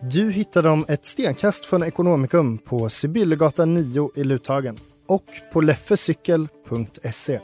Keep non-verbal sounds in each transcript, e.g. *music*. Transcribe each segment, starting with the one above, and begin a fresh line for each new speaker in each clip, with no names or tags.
Du hittar dem ett stenkast från Ekonomikum på Sibyllegatan 9 i Luthagen och på leffecykel.se.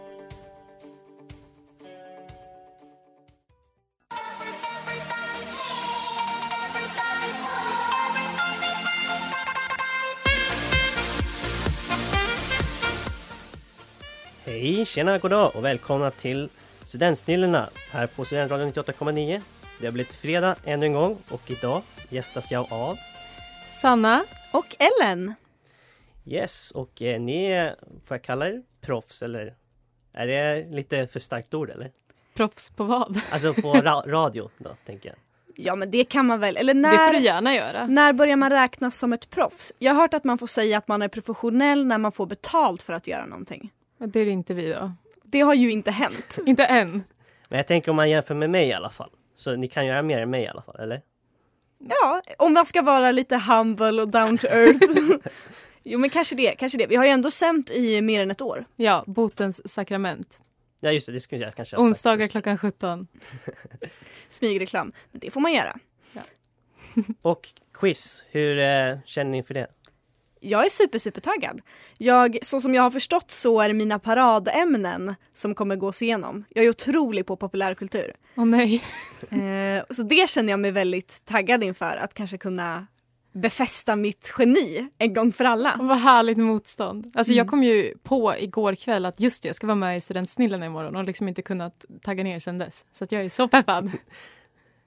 Hej, tjena, goddag och välkomna till Studentsnillena här på Studentradion 98,9. Det har blivit fredag ännu en gång och idag gästas jag av
Sanna och Ellen.
Yes, och eh, ni är, får jag kalla er proffs eller? Är det lite för starkt ord eller?
Proffs på vad? *laughs*
Alltså på ra *laughs* radio då, tänker jag.
Ja men det kan man väl, eller
Det får
när,
du gärna göra.
när börjar man räknas som ett proffs? Jag har hört att man får säga att man är professionell när man får betalt för att göra någonting.
Det är det inte vi då.
Det har ju inte hänt.
Inte än.
Men jag tänker om man jämför med mig i alla fall. Så ni kan göra mer än mig i alla fall, eller?
Ja, om man ska vara lite humble och down to earth. jo men kanske det, kanske det. Vi har ju ändå sänt i mer än ett år.
Ja, botens sakrament.
Ja just det, det skulle jag kanske ha sagt.
Onsdagar klockan 17.
Smygreklam. Men det får man göra.
Och quiz, hur eh, känner ni för det?
Jag är super, super taggad. Jag, så som jag har förstått så är det mina paradämnen som kommer gås igenom. Jag är otrolig på populärkultur.
Åh nej.
Eh, så det känner jag mig väldigt taggad inför, att kanske kunna befästa mitt geni en gång för alla.
Vad härligt motstånd. Alltså jag kom ju på igår kväll att just det, jag ska vara med i Studentsnillen imorgon och liksom inte kunnat tagga ner sen dess. Så att jag är så peppad.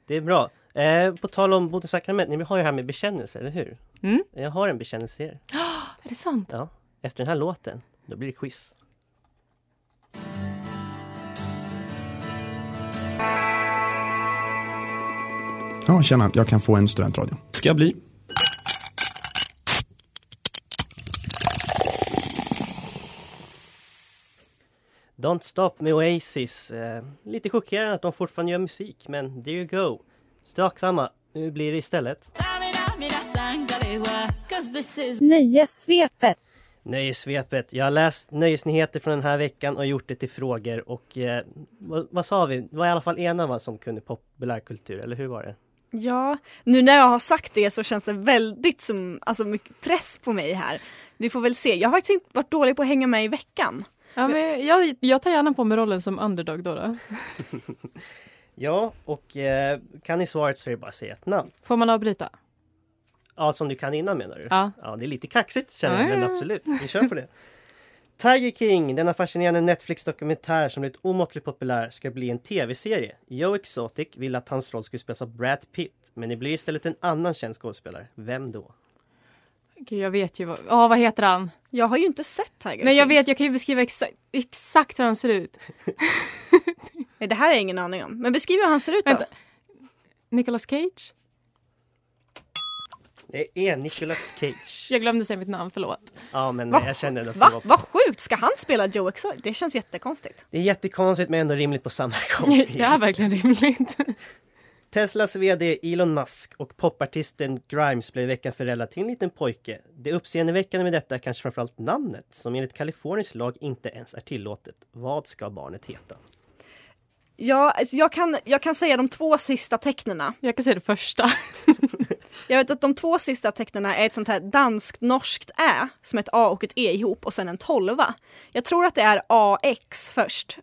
Det är bra. Eh, på tal om botens sakrament, ni har ju det här med bekännelse, eller hur?
Mm.
Jag har en bekännelse till er.
*laughs* Är det sant?
Ja, efter den här låten, då blir det quiz.
Ja, tjena, jag kan få en studentradio. Ska jag bli.
Don't Stop med Oasis. Eh, lite chockerande att de fortfarande gör musik, men there you go. Strax samma. Nu blir det istället
Nöjessvepet.
Nöjesvepet. Jag har läst nöjesnyheter från den här veckan och gjort det till frågor och eh, vad, vad sa vi? Det var i alla fall ena va, som kunde populärkultur, eller hur var det?
Ja, nu när jag har sagt det så känns det väldigt som, alltså mycket press på mig här. Vi får väl se. Jag har faktiskt inte varit dålig på att hänga med i veckan.
Ja, men jag, jag tar gärna på mig rollen som underdog då. då.
Ja, och eh, kan ni svaret så är det bara att säga ett namn.
Får man avbryta?
Ja, som du kan innan menar du?
Ja.
Ja, det är lite kaxigt känner jag,
Ja, ja,
men
ja.
absolut. Vi kör på det. Tiger King, denna fascinerande Netflix-dokumentär som blivit omåttligt populär, ska bli en tv-serie. Joe Exotic ville att hans roll skulle spelas av Brad Pitt, men det blir istället en annan känd skådespelare. Vem då?
Gud, jag vet ju vad... Ja, vad heter han?
Jag har ju inte sett Tiger
Nej, jag
King.
vet, jag kan ju beskriva exa exakt hur han ser ut.
Nej, det här har jag ingen aning om. Men beskriv hur han ser ut då.
Vänta. Nicolas Cage?
Det är Nicolas Cage.
Jag glömde säga mitt namn, förlåt.
Ja, men
Va?
jag känner att det
Va?
var...
Vad sjukt! Ska han spela Joe Exotic? Det känns jättekonstigt.
Det är jättekonstigt men ändå rimligt på samma
*laughs*
gång.
Det är verkligen rimligt.
Teslas VD Elon Musk och popartisten Grimes blev i veckan föräldrar till en liten pojke. Det uppseendeväckande med detta är kanske framförallt namnet som enligt Kaliforniens lag inte ens är tillåtet. Vad ska barnet heta?
Ja, alltså jag, kan, jag kan säga de två sista tecknena.
Jag kan säga det första.
Jag vet att de två sista tecknena är ett sånt här danskt-norskt ä som ett a och ett e ihop och sen en tolva. Jag tror att det är ax först.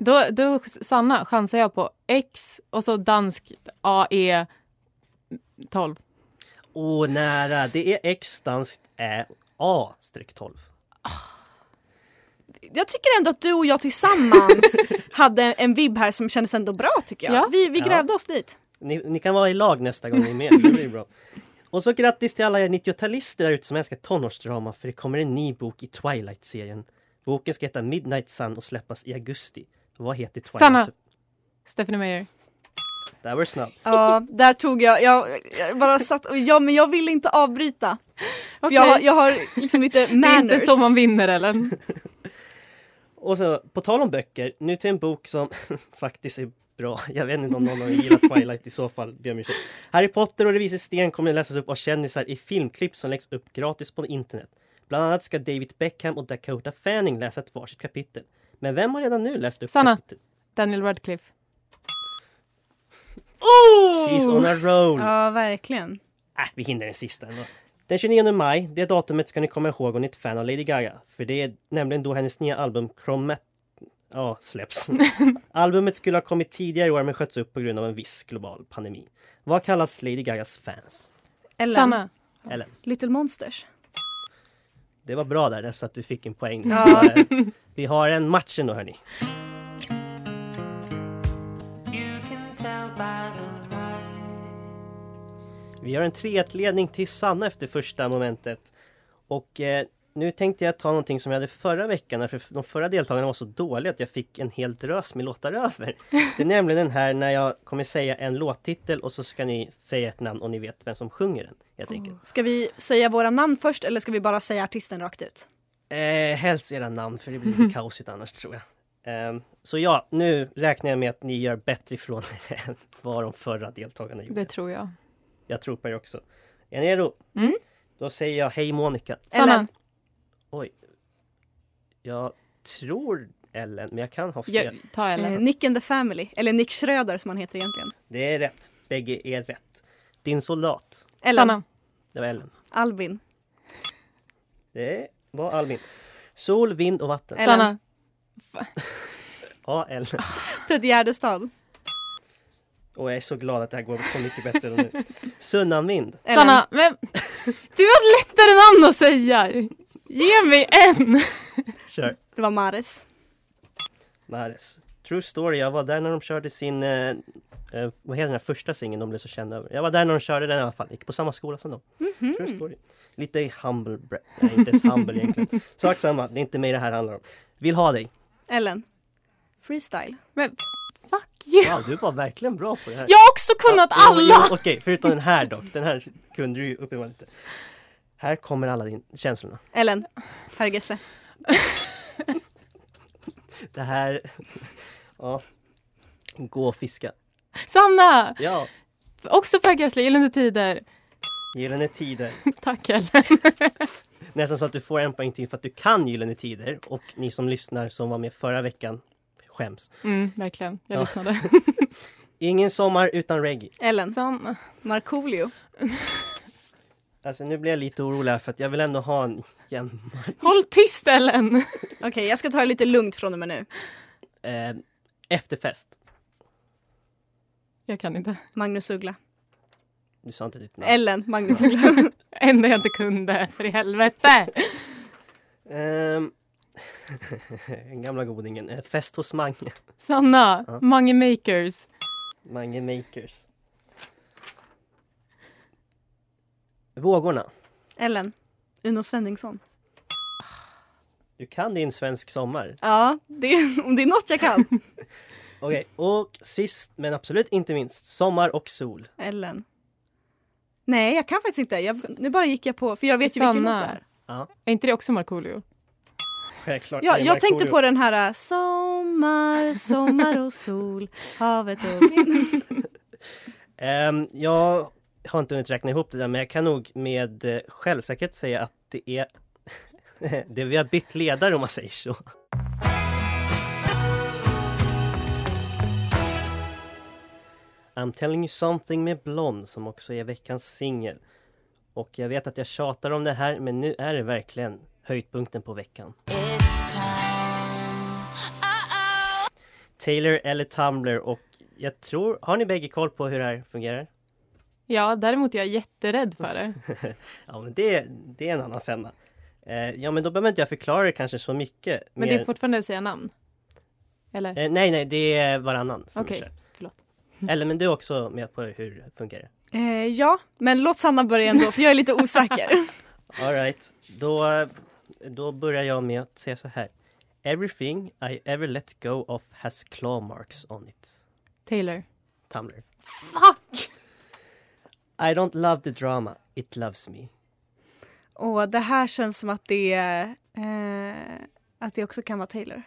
Då, då Sanna, chansar jag på X och så E danskt AE 12.
Åh, nära! Det är X danskt Ä A-12.
Jag tycker ändå att du och
*laughs*
jag tillsammans hade en vibb här som kändes ändå bra tycker jag.
Ja.
Vi, vi
Ja.
grävde
*laughs*
oss dit.
Ni, ni kan vara i lag nästa gång ni är med. Det blir bra. Och så grattis till alla er 90-talister där ute som älskar tonårsdrama för det kommer en ny bok i Twilight-serien. Boken ska heta Midnight Sun och släppas i augusti. Vad heter Twilight?
Sanna. Stephanie Meyer.
Där var du snabb.
Ja, där tog jag, jag, jag bara satt och ja men jag ville inte avbryta. För jag, har-
Okej.
jag har liksom
*laughs*
lite
Det är
manners.
inte så man vinner Ellen.
Och så, på tal om böcker, nu till en bok som *laughs* faktiskt är bra. Jag vet inte om någon har gillat Twilight i så fall, ber om ursäkt. Harry Potter och Det vises sten kommer att läsas upp av kändisar i filmklipp som läggs upp gratis på internet. Bland annat ska David Beckham och Dakota Fanning läsa ett varsitt kapitel. Men vem har redan nu läst upp
Sanna.
kapitel?
Daniel Radcliffe.
She's on a roll!
Ja, verkligen.
Äh, vi hinner den sista ändå. Den 29 maj, det datumet ska ni komma ihåg om ni är ett fan av Lady Gaga. För det är nämligen då hennes nya album Chromat... Ja, släpps. Albumet skulle ha kommit tidigare i år men sköts upp på grund av en viss global pandemi. Vad kallas Lady Gagas fans?
Ellen,
Sanna.
Ellen,
Little Monsters.
det var bra där så att du fick en poäng.
Ja.
Så, eh, vi har en match ändå hörni. Vi har en 3-1-ledning till Sanna efter första momentet. Och eh, nu tänkte jag ta någonting som jag hade förra veckan, för de förra deltagarna var så dåliga att jag fick en helt drös med låtar över. Det är nämligen den här när jag kommer säga en låttitel och så ska ni säga ett namn och ni vet vem som sjunger den, helt enkelt.
Ska vi säga våra namn först eller ska vi bara säga artisten rakt ut?
Eh, helst era namn för det
*laughs*
blir lite kaosigt annars tror jag. Ehm, så ja, nu räknar jag med att ni gör bättre ifrån er *laughs* än vad de förra deltagarna gjorde.
Det tror jag.
Jag tror på er också. Är ni redo?
Mm.
Då säger jag hej Monica.
Sanna.
Ellen.
Jag tror Ellen, men jag kan ha fel.
Ja, ta
Eh,
Ellen.
Nick and the Family, eller Nick Schröder som han heter egentligen.
Det är rätt. Bägge är rätt. Din soldat.
Ellen,
Sanna.
Det var Ellen.
Albin,
Det var Albin. Sol, vind och vatten.
Ellen.
Sanna.
Ja, Ellen.
Ted Gärdestad.
Och jag är så glad att det här går så mycket bättre än nu. Sunnanvind.
Ellen.
Sanna. Men, du har lättare namn att säga. Ge mig en.
Kör.
Det var Mares.
Mares. True story, jag var där när de körde sin, eh, eh, vad heter den här första singeln de blev så kända över? Jag var där när de körde den i alla fall, gick på samma skola som dem.
Mhm.
True story. Lite humble, bre- nej inte ens humble
*laughs*
egentligen. Sak samma, det är inte mig det här handlar om. Vill ha dig.
Ellen. Freestyle.
Fuck you.
Ja, du var verkligen bra på det här.
Jag har också kunnat
Ja, jo, jo,
alla.
Okej, förutom den här dock. Den här kunde du ju uppenbarligen inte. Här kommer alla din känslorna.
Ellen. Per Gessle.
Det här, *laughs* ja. Gå och fiska.
Sanna.
Ja,
Också Per Gessle. Gyllene Tider.
Gyllene Tider.
Tack Ellen.
Nästan så att du får en poäng till för att du kan Gyllene Tider och ni som lyssnar som var med förra veckan skäms.
Mm, verkligen. Jag
Ja.
lyssnade.
Ingen sommar utan reggae.
Ellen.
Sanna.
Markoolio.
Alltså nu blir jag lite orolig här för att jag vill ändå ha en jämn...
Håll tyst Ellen.
Okej, jag ska ta det lite lugnt från och med nu.
Eh, efterfest.
Jag kan inte.
Magnus Uggla.
Du sa inte ditt namn.
Ellen. Magnus Uggla.
*laughs* Enda jag inte kunde. För i helvete.
Ehm, *laughs* Den gamla godingen. Eh, fest hos Mange.
Sanna.
Ja.
Mange Makers.
Mange Makers. Vågorna.
Ellen. Uno Svenningsson.
Du kan din svensk sommar.
Ja, det, om det är något
*laughs*
jag kan.
Okej, och sist men absolut inte minst, sommar och sol.
Ellen. Nej, jag kan faktiskt inte. Jag, nu bara gick jag på, för jag vet ju vilken
Sanna.
låt det är.
Är inte det också Markoolio?
Självklart.
Ja,
Det är
jag tänkte
Markoolio.
på den här äh, Sommar, sommar och sol, havet och vind.
Ehm, jag har inte hunnit räkna ihop det där, men jag kan nog med eh, självsäkerhet säga att det är... *laughs* det vi har bytt ledare om man säger så. I'm telling you something med Blond som också är veckans singel. Och jag vet att jag tjatar om det här, men nu är det verkligen höjdpunkten på veckan. Taylor eller Tumblr och jag tror... Har ni bägge koll på hur det här fungerar?
Ja, däremot är jag jätterädd för det.
Ja, men det, det är en annan femma. Eh, ja, men då behöver inte jag förklara det kanske så mycket.
Men det
mer-
är fortfarande att säga namn? Eller?
eh, nej, nej, det är varannan som
Okej,
kör.
förlåt.
Eller men du är också med på hur det funkar det?
Eh, ja, men låt Sanna börja ändå för jag är lite osäker.
All right, då, då börjar jag med att säga så här. Everything I ever let go of has claw marks on it.
Taylor.
Tumblr.
Fuck!
I don't love the drama, it loves me.
Och det här känns som att det, eh, att det också kan vara Taylor.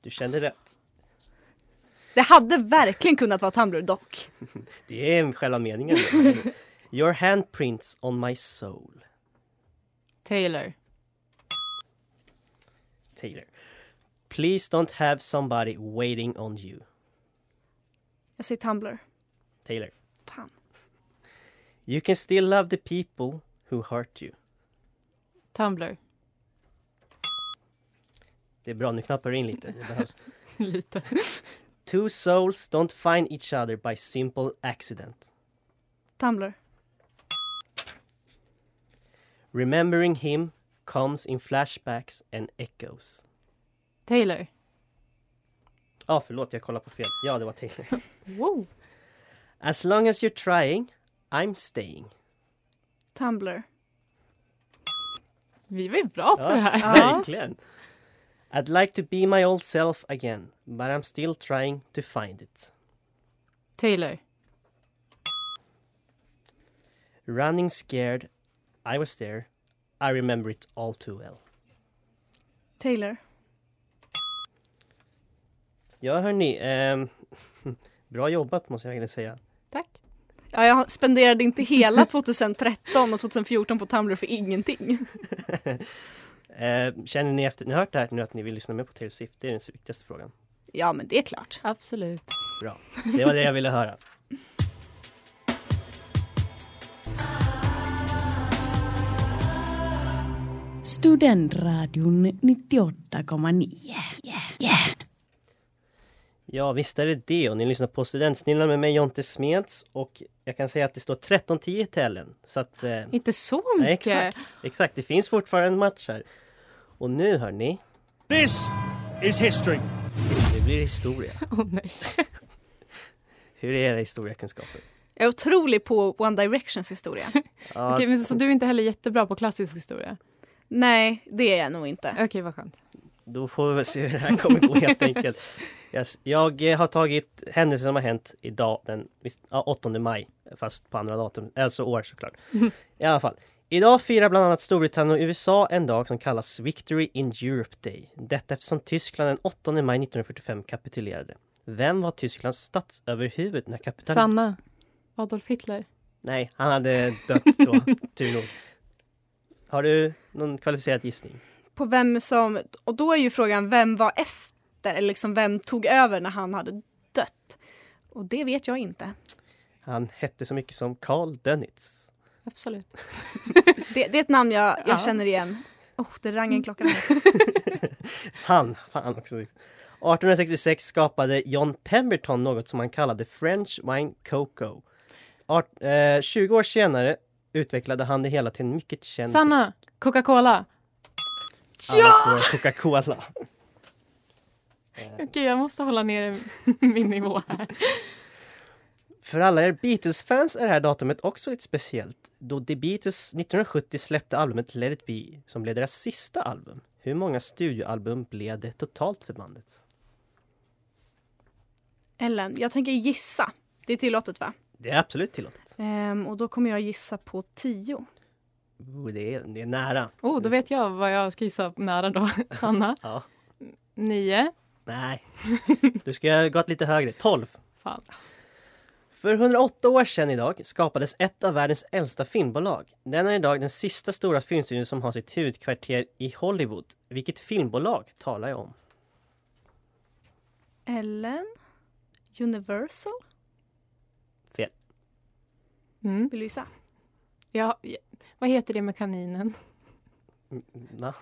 Du känner rätt.
Det hade verkligen kunnat vara Tumblr dock.
Det är själva meningen. Your handprints on my soul,
Taylor.
Taylor. Please don't have somebody waiting on you,
Jag säger Tumblr.
Taylor.
Fan.
You can still love the people who hurt you.
Tumblr. *laughs*
Det är bra, nu knappar du in lite. Det behövs.
Lite.
Two souls don't find each other by simple accident.
Tumblr.
Remembering him comes in flashbacks and echoes.
Taylor.
Ja, ah, förlåt, jag kollade på fel. Ja, det var Taylor.
Wow.
As long as you're trying, I'm staying.
Tumblr.
Vi var ju bra på det här.
verkligen. I'd like to be my old self again, but I'm still trying to find it.
Taylor.
Running scared, I was there. I remember it all too well.
Taylor.
Ja, hörni. ehm, *laughs* bra jobbat måste jag verkligen säga. *laughs*
Tack.
Ja, jag spenderade inte hela 2013 och 2014 på Tumblr för ingenting.
Eh, känner ni efter ni har hört det här nu att ni vill lyssna mer på Taylor Swift? Det är den viktigaste frågan.
Ja, men det är klart.
Absolut.
Bra. Det var det jag ville höra. *laughs*
Studentradion 98,9.
Ja, visst är det det. Och ni lyssnar på Studentsnillan med mig, Jonte Smeds. Och jag kan säga att det står 13-10 i tävlen. Så att... Eh,
Inte så
nej,
mycket.
exakt, exakt. Det finns fortfarande en match här. Och nu, hörni.
This is history.
Det blir historia.
Åh, nej.
Hur är era historiekunskaper?
Jag är otrolig på One Directions historia.
Ja,
Okej, men så, så du är inte heller jättebra på klassisk historia?
Nej, det är jag nog inte.
Okej, vad skönt.
Då får vi väl se hur det här kommer gå helt enkelt. Yes. Jag eh, har tagit händelser som har hänt idag den visst, ja, 8 maj, fast på andra datum, alltså år såklart. I alla fall. Idag firar bland annat Storbritannien och USA en dag som kallas Victory in Europe Day. Detta eftersom Tyskland den 8 maj 1945 kapitulerade. Vem var Tysklands statsöverhuvud när kapitulationen...
Sanna. Adolf Hitler.
Nej, han hade dött då, *laughs* tur nog. Har du någon kvalificerad gissning?
På vem som... Och då är ju frågan vem var efter, eller liksom vem tog över när han hade dött? Och det vet jag inte.
Han hette så mycket som Karl Dönitz.
Absolut.
Det, det är ett namn jag, jag
Ja.
känner igen. Oh, det rang en klocka. här.
*laughs* Han, fan också. 1866 skapade John Pemberton något som han kallade French Wine Cocoa. Art, eh, 20 år senare utvecklade han det hela till en mycket känd...
Sanna. Coca-Cola.
Ja!
*laughs*
Coca-Cola.
Okej, jag måste hålla ner *laughs* min nivå här.
För alla er Beatles-fans är det här datumet också lite speciellt. Då The Beatles 1970 släppte albumet Let It Be som blev deras sista album. Hur många studioalbum blev det totalt för bandet?
Ellen, jag tänker gissa. Det är tillåtet va?
Det är absolut tillåtet.
Ehm, och då kommer jag gissa på tio.
Oh, det, är, det är nära.
Oh, då vet jag vad jag ska gissa
*laughs*
nära då. Sanna.
Ja.
Nio.
Nej, du ska gått lite högre. 12.
Fan.
För 108 år sedan idag skapades ett av världens äldsta filmbolag. Den är idag den sista stora filmstudion som har sitt huvudkvarter i Hollywood. Vilket filmbolag talar jag om?
Ellen? Universal?
Fel.
Mm.
Vill du gissa?
Ja, ja. vad heter det med kaninen?
Na?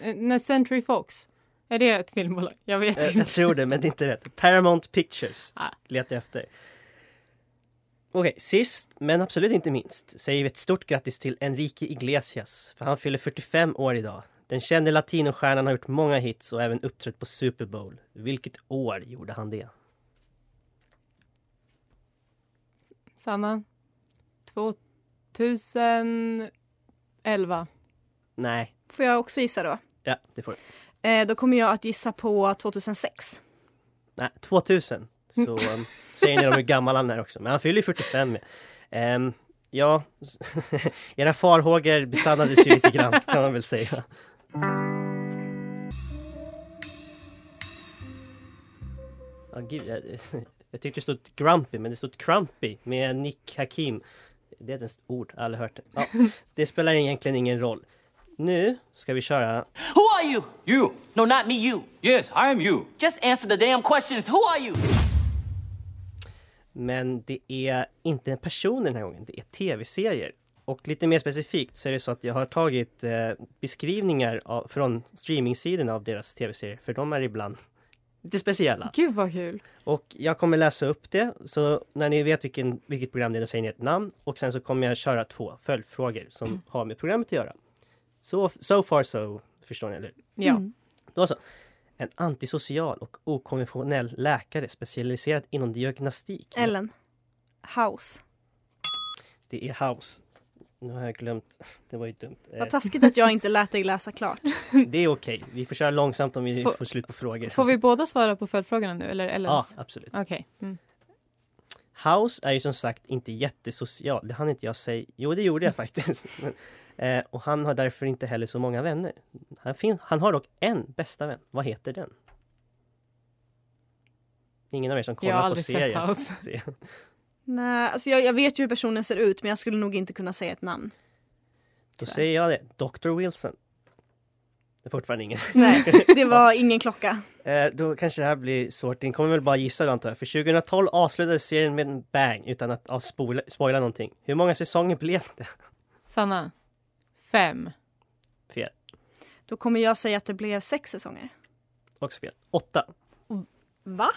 Eh, Nej, Century Fox. Är det ett filmbolag? Jag vet
Eh,
inte.
Jag tror det, men det är inte rätt. Paramount Pictures
Ah.
letar jag efter. Okej, sist men absolut inte minst säger vi ett stort grattis till Enrique Iglesias för han fyller 45 år idag. Den kände latinostjärnan har gjort många hits och även uppträtt på Super Bowl. Vilket år gjorde han det?
Sanna. 2011.
Nej,
Får jag också gissa då?
ja det får du.
Eh, då kommer jag att gissa på 2006.
Nej, 2000. Så um, säger ni om hur gammal han är också. Men han fyller ju 45. Um, ja, *laughs* era farhågor besannades ju lite grann kan man väl säga. Ja, gud, jag, jag tyckte det stod Grumpy, men det stod Crumpy med Nick Hakim. Det är ett ens ord, jag har aldrig hört det. Ja, det spelar egentligen ingen roll. Nu ska vi köra
Who are you? You. No, not me, you. Yes, I am you. Just answer the damn questions. Who are you?
Men det är inte en person den här gången, det är tv-serier. Och lite mer specifikt så är det så att jag har tagit eh, beskrivningar av, från streamingsidorna av deras tv-serier, för de är ibland lite speciella.
Gud vad kul.
Och jag kommer läsa upp det, så när ni vet vilken, vilket program det är, då säger ni ett namn. Och sen så kommer jag köra två följdfrågor som har med programmet att göra. So, so far so, förstår ni, eller hur?
Ja.
Då så. En antisocial och okonventionell läkare specialiserad inom diagnostik.
Ellen. House.
Det är House. Nu har jag glömt. *laughs* Det var ju dumt. Eh,
Vad taskigt att jag inte lät dig läsa klart.
Det är okej. Vi får köra långsamt om vi
Får-
får slut på frågor.
Får vi båda svara på följdfrågorna nu eller
Ja,
Ellens?
absolut.
Okej. Mm.
House är ju som sagt inte jättesocial. Det hann inte jag säga. Jo, det
*laughs*
gjorde jag faktiskt. *laughs* Men, eh, och han har därför inte heller så många vänner. Han, fin- han har dock en bästa vän. Vad heter den? Ingen av er som kollar
Jag har
på
aldrig sett
serien.
House.
*laughs* Se-
Nej, alltså jag, jag vet ju hur personen ser ut men jag skulle nog inte kunna säga ett namn.
Då säger jag det. Dr. Wilson. Det är fortfarande ingen.
Nej, det var ingen klocka.
Eh, då kanske det här blir svårt. Ni kommer väl bara gissa då antar jag. För 2012 avslutades serien med en bang utan att ja, spoila, spoila någonting. Hur många säsonger blev det? *laughs*
Sanna. Fem.
Fel.
Då kommer jag säga att det blev sex säsonger.
Också fel. Åtta.
Va?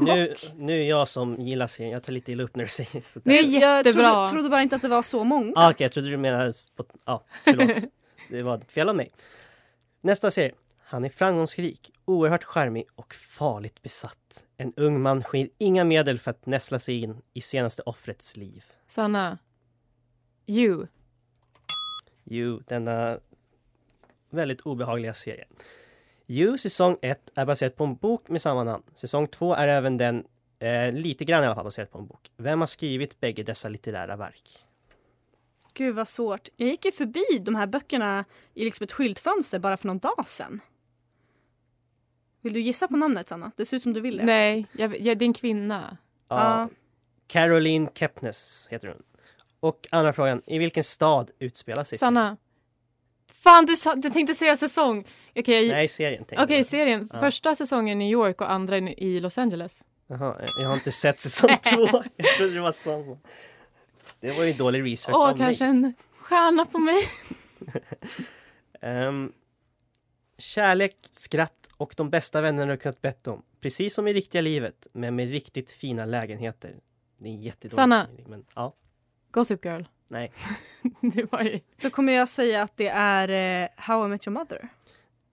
Nu, nu är jag som gillar serien. Jag tar lite illa upp när du säger sådär.
Det är jättebra.
Jag trodde, trodde bara inte att det var så många.
Ah, Okej, jag trodde du menade... på- Ja, förlåt. Det var fel av mig. Nästa serie. Han är framgångsrik, oerhört charmig och farligt besatt. En ung man skyr inga medel för att näsla sig in i senaste offrets liv.
Sanna. You.
You, denna väldigt obehagliga serie. You, säsong 1, är baserad på en bok med samma namn. Säsong 2 är även den, eh, lite grann i alla fall, baserad på en bok. Vem har skrivit bägge dessa litterära verk?
Gud vad svårt. Jag gick ju förbi de här böckerna i liksom ett skyltfönster bara för någon dag sedan. Vill du gissa på namnet Sanna? Det ser ut som du vill det.
Nej, jag, jag, det är en kvinna.
Ja.
Caroline Kepnes heter hon. Och andra frågan, i vilken stad utspelar sig serien?
Sanna. Fan, du, sa, du tänkte säga säsong. Okej,
Nej, serien tänkte
Okej, serien.
Ja.
Första säsongen i New York och andra i i Los Angeles.
Jaha, jag- jag har inte sett säsong
*laughs*
2. Jag trodde det var samma. Det var ju dålig research
Åh,
av mig.
kanske en stjärna på mig.
Ehm, kärlek, skratt och de bästa vännerna du kunnat bett om. Precis som i riktiga livet, men med riktigt fina lägenheter. Det är en jättedålig
Sanna.
skrivning, Men, ja,
*laughs* Gossip Girl.
nej.
Det var ju...
Då kommer jag säga att det är eh, How I Met Your Mother.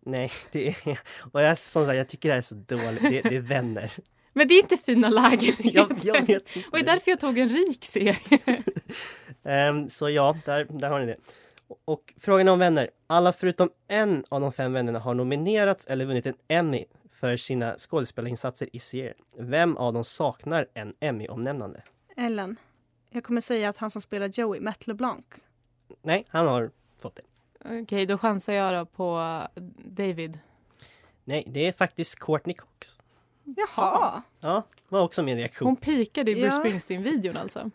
Nej, *laughs* det är... Och jag, som sagt, jag tycker det här är så dåligt. Det, det är vänner.
Men det är inte fina lägenheter.
*laughs* Jag, jag vet inte.
Och det är därför jag tog en rik serie.
Ehm, så ja, där, där har ni det. Och frågan om vänner. Alla förutom en av de fem vännerna har nominerats eller vunnit en Emmy för sina skådespelarinsatser i serien. Vem av dem saknar en Emmy-omnämnande?
Ellen. Jag kommer säga att han som spelar Joey, Matt LeBlanc.
Nej, han har fått det.
Okej, då chansar jag då på David.
Nej, det är faktiskt Courtney Cox.
Jaha.
Ja, var också min reaktion.
Hon pikade i Bruce
Ja.
Springsteen-videon alltså.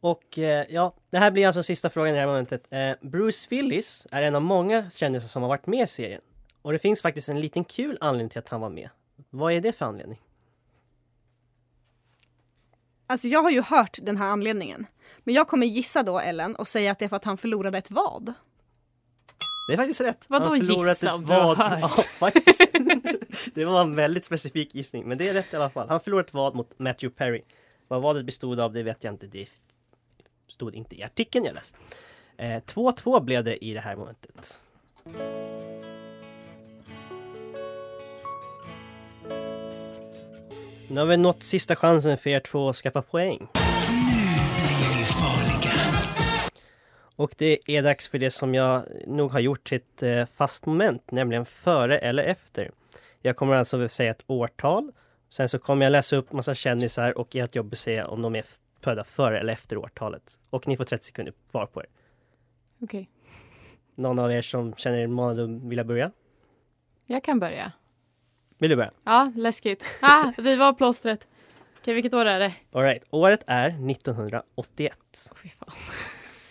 Och eh, ja, det här blir alltså sista frågan i det här momentet. Eh, Bruce Willis är en av många kändisar som har varit med i serien. Och det finns faktiskt en liten kul anledning till att han var med. Vad är det för anledning?
Alltså jag har ju hört den här anledningen. Men jag kommer gissa då Ellen och säga att det är för att han förlorade ett vad.
Det är faktiskt rätt.
Vadå
Han har förlorat
gissa
ett
om du har
vad-
hört?
Ja, faktiskt. *laughs* det var en väldigt specifik gissning, men det är rätt i alla fall. Han förlorade ett vad mot Matthew Perry. Vad vadet bestod av, det vet jag inte. Det stod inte i artikeln jag läste. Eh, 2-2 blev det i det här momentet. Nu har vi nått sista chansen för er två att skaffa poäng. Och det är dags för det som jag nog har gjort till ett eh, fast moment, nämligen före eller efter. Jag kommer alltså säga ett årtal. Sen så kommer jag läsa upp massa kändisar och ert jobb är att säga om de är födda före eller efter årtalet. Och ni får 30 sekunder var på er.
Okej,
Någon av er som känner er manad att vilja börja?
jag kan börja.
Vill du börja?
Ja, läskigt. Ah, riva av plåstret. Okej, vilket år är det?
All right. Året är 1981.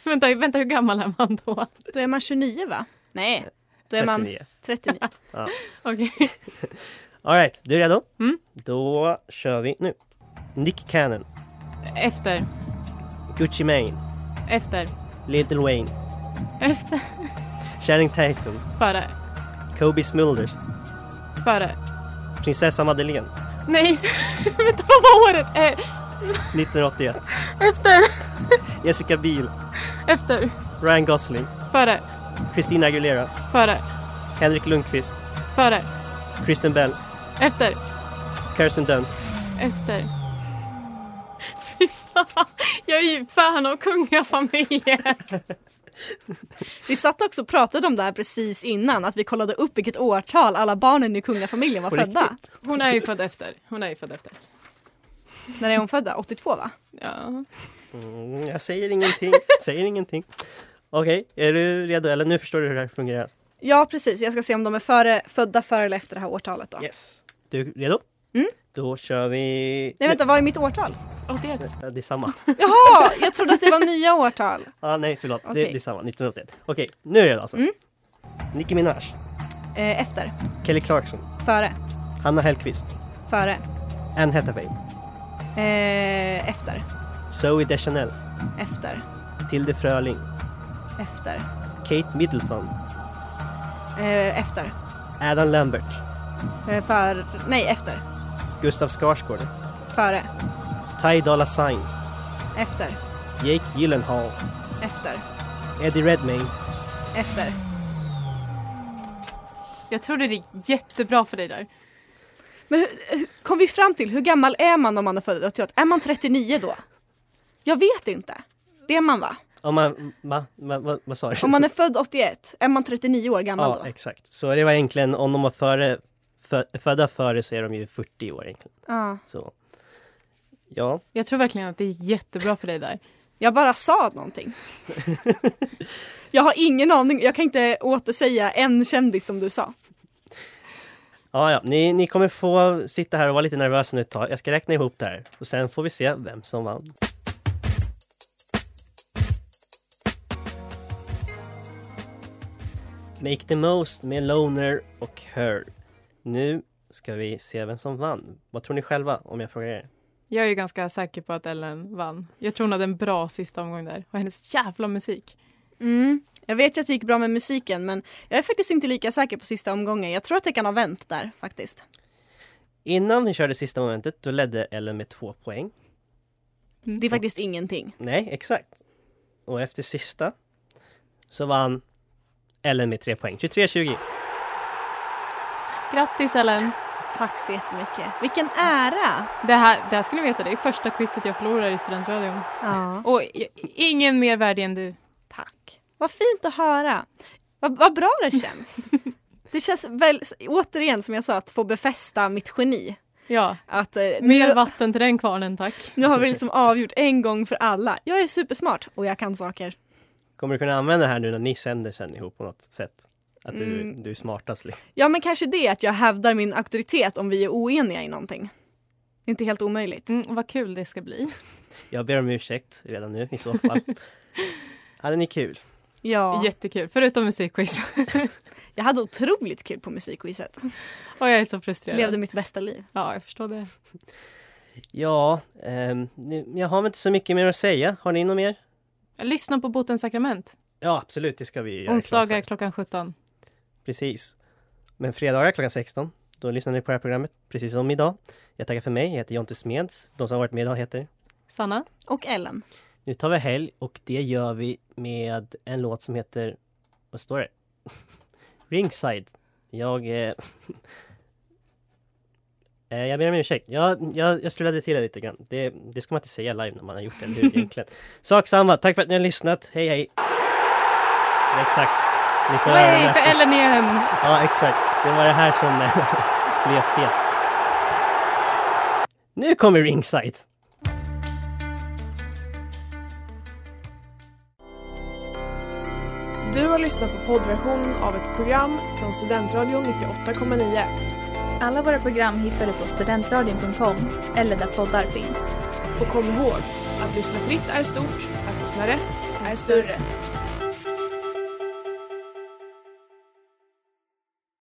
Vänta, vänta, hur gammal är man då?
Då är man 29 va? Nej, då är man
39.
39.
Ja.
Okej.
All right, du är redo?
Mm.
Då kör vi nu. Nick Cannon,
Efter,
Gucci Mane,
efter,
Little Wayne,
efter,
Channing Tatum,
före,
Kobe Smulders,
före.
Prinsessa Madeleine,
Nej, *laughs* vänta vad var året? Eh,
1981,
efter,
Jessica Biel,
efter,
Ryan Gosling,
före,
Christina Aguilera,
före,
Henrik Lundqvist,
före,
Kristen Bell,
efter,
Kirsten Dunst,
efter. Fy fan, jag är ju fan av kungafamiljen.
Vi satt också och pratade om det här precis innan, att vi kollade upp vilket årtal alla barnen i kungafamiljen var
På
födda.
Hon är ju född efter. Hon är ju född efter.
När är hon födda? 82 va?
Ja.
Mm, jag säger ingenting, säger ingenting. Okej, är du redo? Eller nu förstår du hur det här fungerar.
Ja precis, jag ska se om de är före, födda före eller efter det här årtalet då.
Yes. Du är redo?
Mm.
Då kör vi...
Nej vänta, vad är mitt årtal?
81.
Ja, Det är samma.
Jaha, jag trodde att det var nya årtal.
Ah, nej, förlåt. Det,
Okej.
det är samma. 1981. Okej, nu är det alltså.
Mm.
Nicki Minaj,
Eh, efter,
Kelly Clarkson,
före,
Hanna Hellquist,
före,
Anne Hathaway,
eh, efter,
Zoe Deschanel,
efter,
Tilde Fröling,
efter,
Kate Middleton,
eh, efter,
Adam Lambert,
eh, för, nej efter,
Gustav Skarsgård,
före,
Ty Dolla Sign,
efter,
Jake Gyllenhaal,
efter,
Eddie Redmayne.
efter.
Jag trodde det gick jättebra för dig där.
Men hur- hur- kom vi fram till, hur gammal är man om man är född 81? Är man 39 då? Jag vet inte. Det är man va?
Om man... Va? Va? Va? Vad sa du?
Om
*laughs*
man är född 81, är man 39 år gammal
Ja,
då?
exakt. Så det var egentligen om de var före, fö, födda före så är de ju 40 år egentligen.
Ja.
Så ja,
Jag tror verkligen att det är jättebra för dig där.
Jag bara sa
*laughs*
någonting. jag har ingen aning, jag kan inte återsäga en kändis som du sa.
ja, ja. Ni, ni kommer få sitta här och vara lite nervösa nu ett tag. Jag ska räkna ihop det här och sen får vi se vem som vann. Make the most med Loner och Her. Nu ska vi se vem som vann. Vad tror ni själva om jag frågar er?
Jag är ju ganska säker på att Ellen vann. Jag tror hon hade en bra sista omgång där. Och hennes jävla musik.
Mm. Jag vet ju att det gick bra med musiken men jag är faktiskt inte lika säker på sista omgången. Jag tror att det kan ha vänt där faktiskt.
Innan vi körde sista momentet, då ledde Ellen med två poäng.
Det är faktiskt ingenting.
Nej, exakt. Och efter sista så vann Ellen med tre poäng. 23-20.
Grattis Ellen!
Tack så jättemycket. Vilken ära!
Det här, det här ska ni veta, det är första quizet jag förlorar i studentradion.
Ja.
Och i- ingen mer värdig än du.
Tack. Vad fint att höra. Vad, vad bra det
*laughs*
känns. det känns väl, återigen som jag sa, att få befästa mitt geni.
Ja.
Att, eh,
Mer
nu,
vatten till den kvarnen tack.
nu har vi liksom avgjort en gång för alla. Jag är supersmart och jag kan saker.
Kommer du kunna använda det här nu när ni sänder sen ihop på något sätt? Att du,
Mm.
du är smartast liksom.
Ja men kanske det att jag hävdar min auktoritet om vi är oeniga i någonting. Det är inte helt omöjligt.
Mm, vad kul det ska bli.
Jag ber om ursäkt redan nu i så fall. Hade ni kul?
Ja.
Jättekul, förutom musikquiz. *laughs*
Jag hade otroligt kul på musikquizet.
Och jag är så frustrerad.
Levde mitt bästa liv.
Ja, jag förstår det.
Ja, ehm, nu- jag har väl inte så mycket mer att säga. Har ni något mer?
Lyssna på Botens sakrament.
Ja, absolut, det ska vi göra.
Onsdagar
klart
klockan 17.
för. Precis. Men fredagar klockan 16, då lyssnar ni på det här programmet, precis som idag. Jag tackar för mig, jag heter Jonte Smeds. De som har varit med idag heter
Sanna.
Och Ellen.
Nu tar vi helg och det gör vi med en låt som heter, vad står det? *laughs* Ringside. Jag... Eh, *laughs* eh, jag ber om ursäkt. Jag, jag, jag slurade till det lite grann. Det, det ska man inte säga live när man har gjort det, eller
*laughs*
hur egentligen? Sak samma. Tack för att ni har lyssnat. Hej hej! Exakt. Ni får höra den
Hej
här
för
först.
Ellen igen!
Ja, exakt. Det var det här som *laughs* eh, blev fel. Nu kommer Ringside.
Du har lyssnat på poddversionen av ett program från Studentradion 98,9.
Alla våra program hittar du på studentradion.com eller där poddar finns.
Och kom ihåg, att lyssna fritt är stort, att lyssna rätt är större.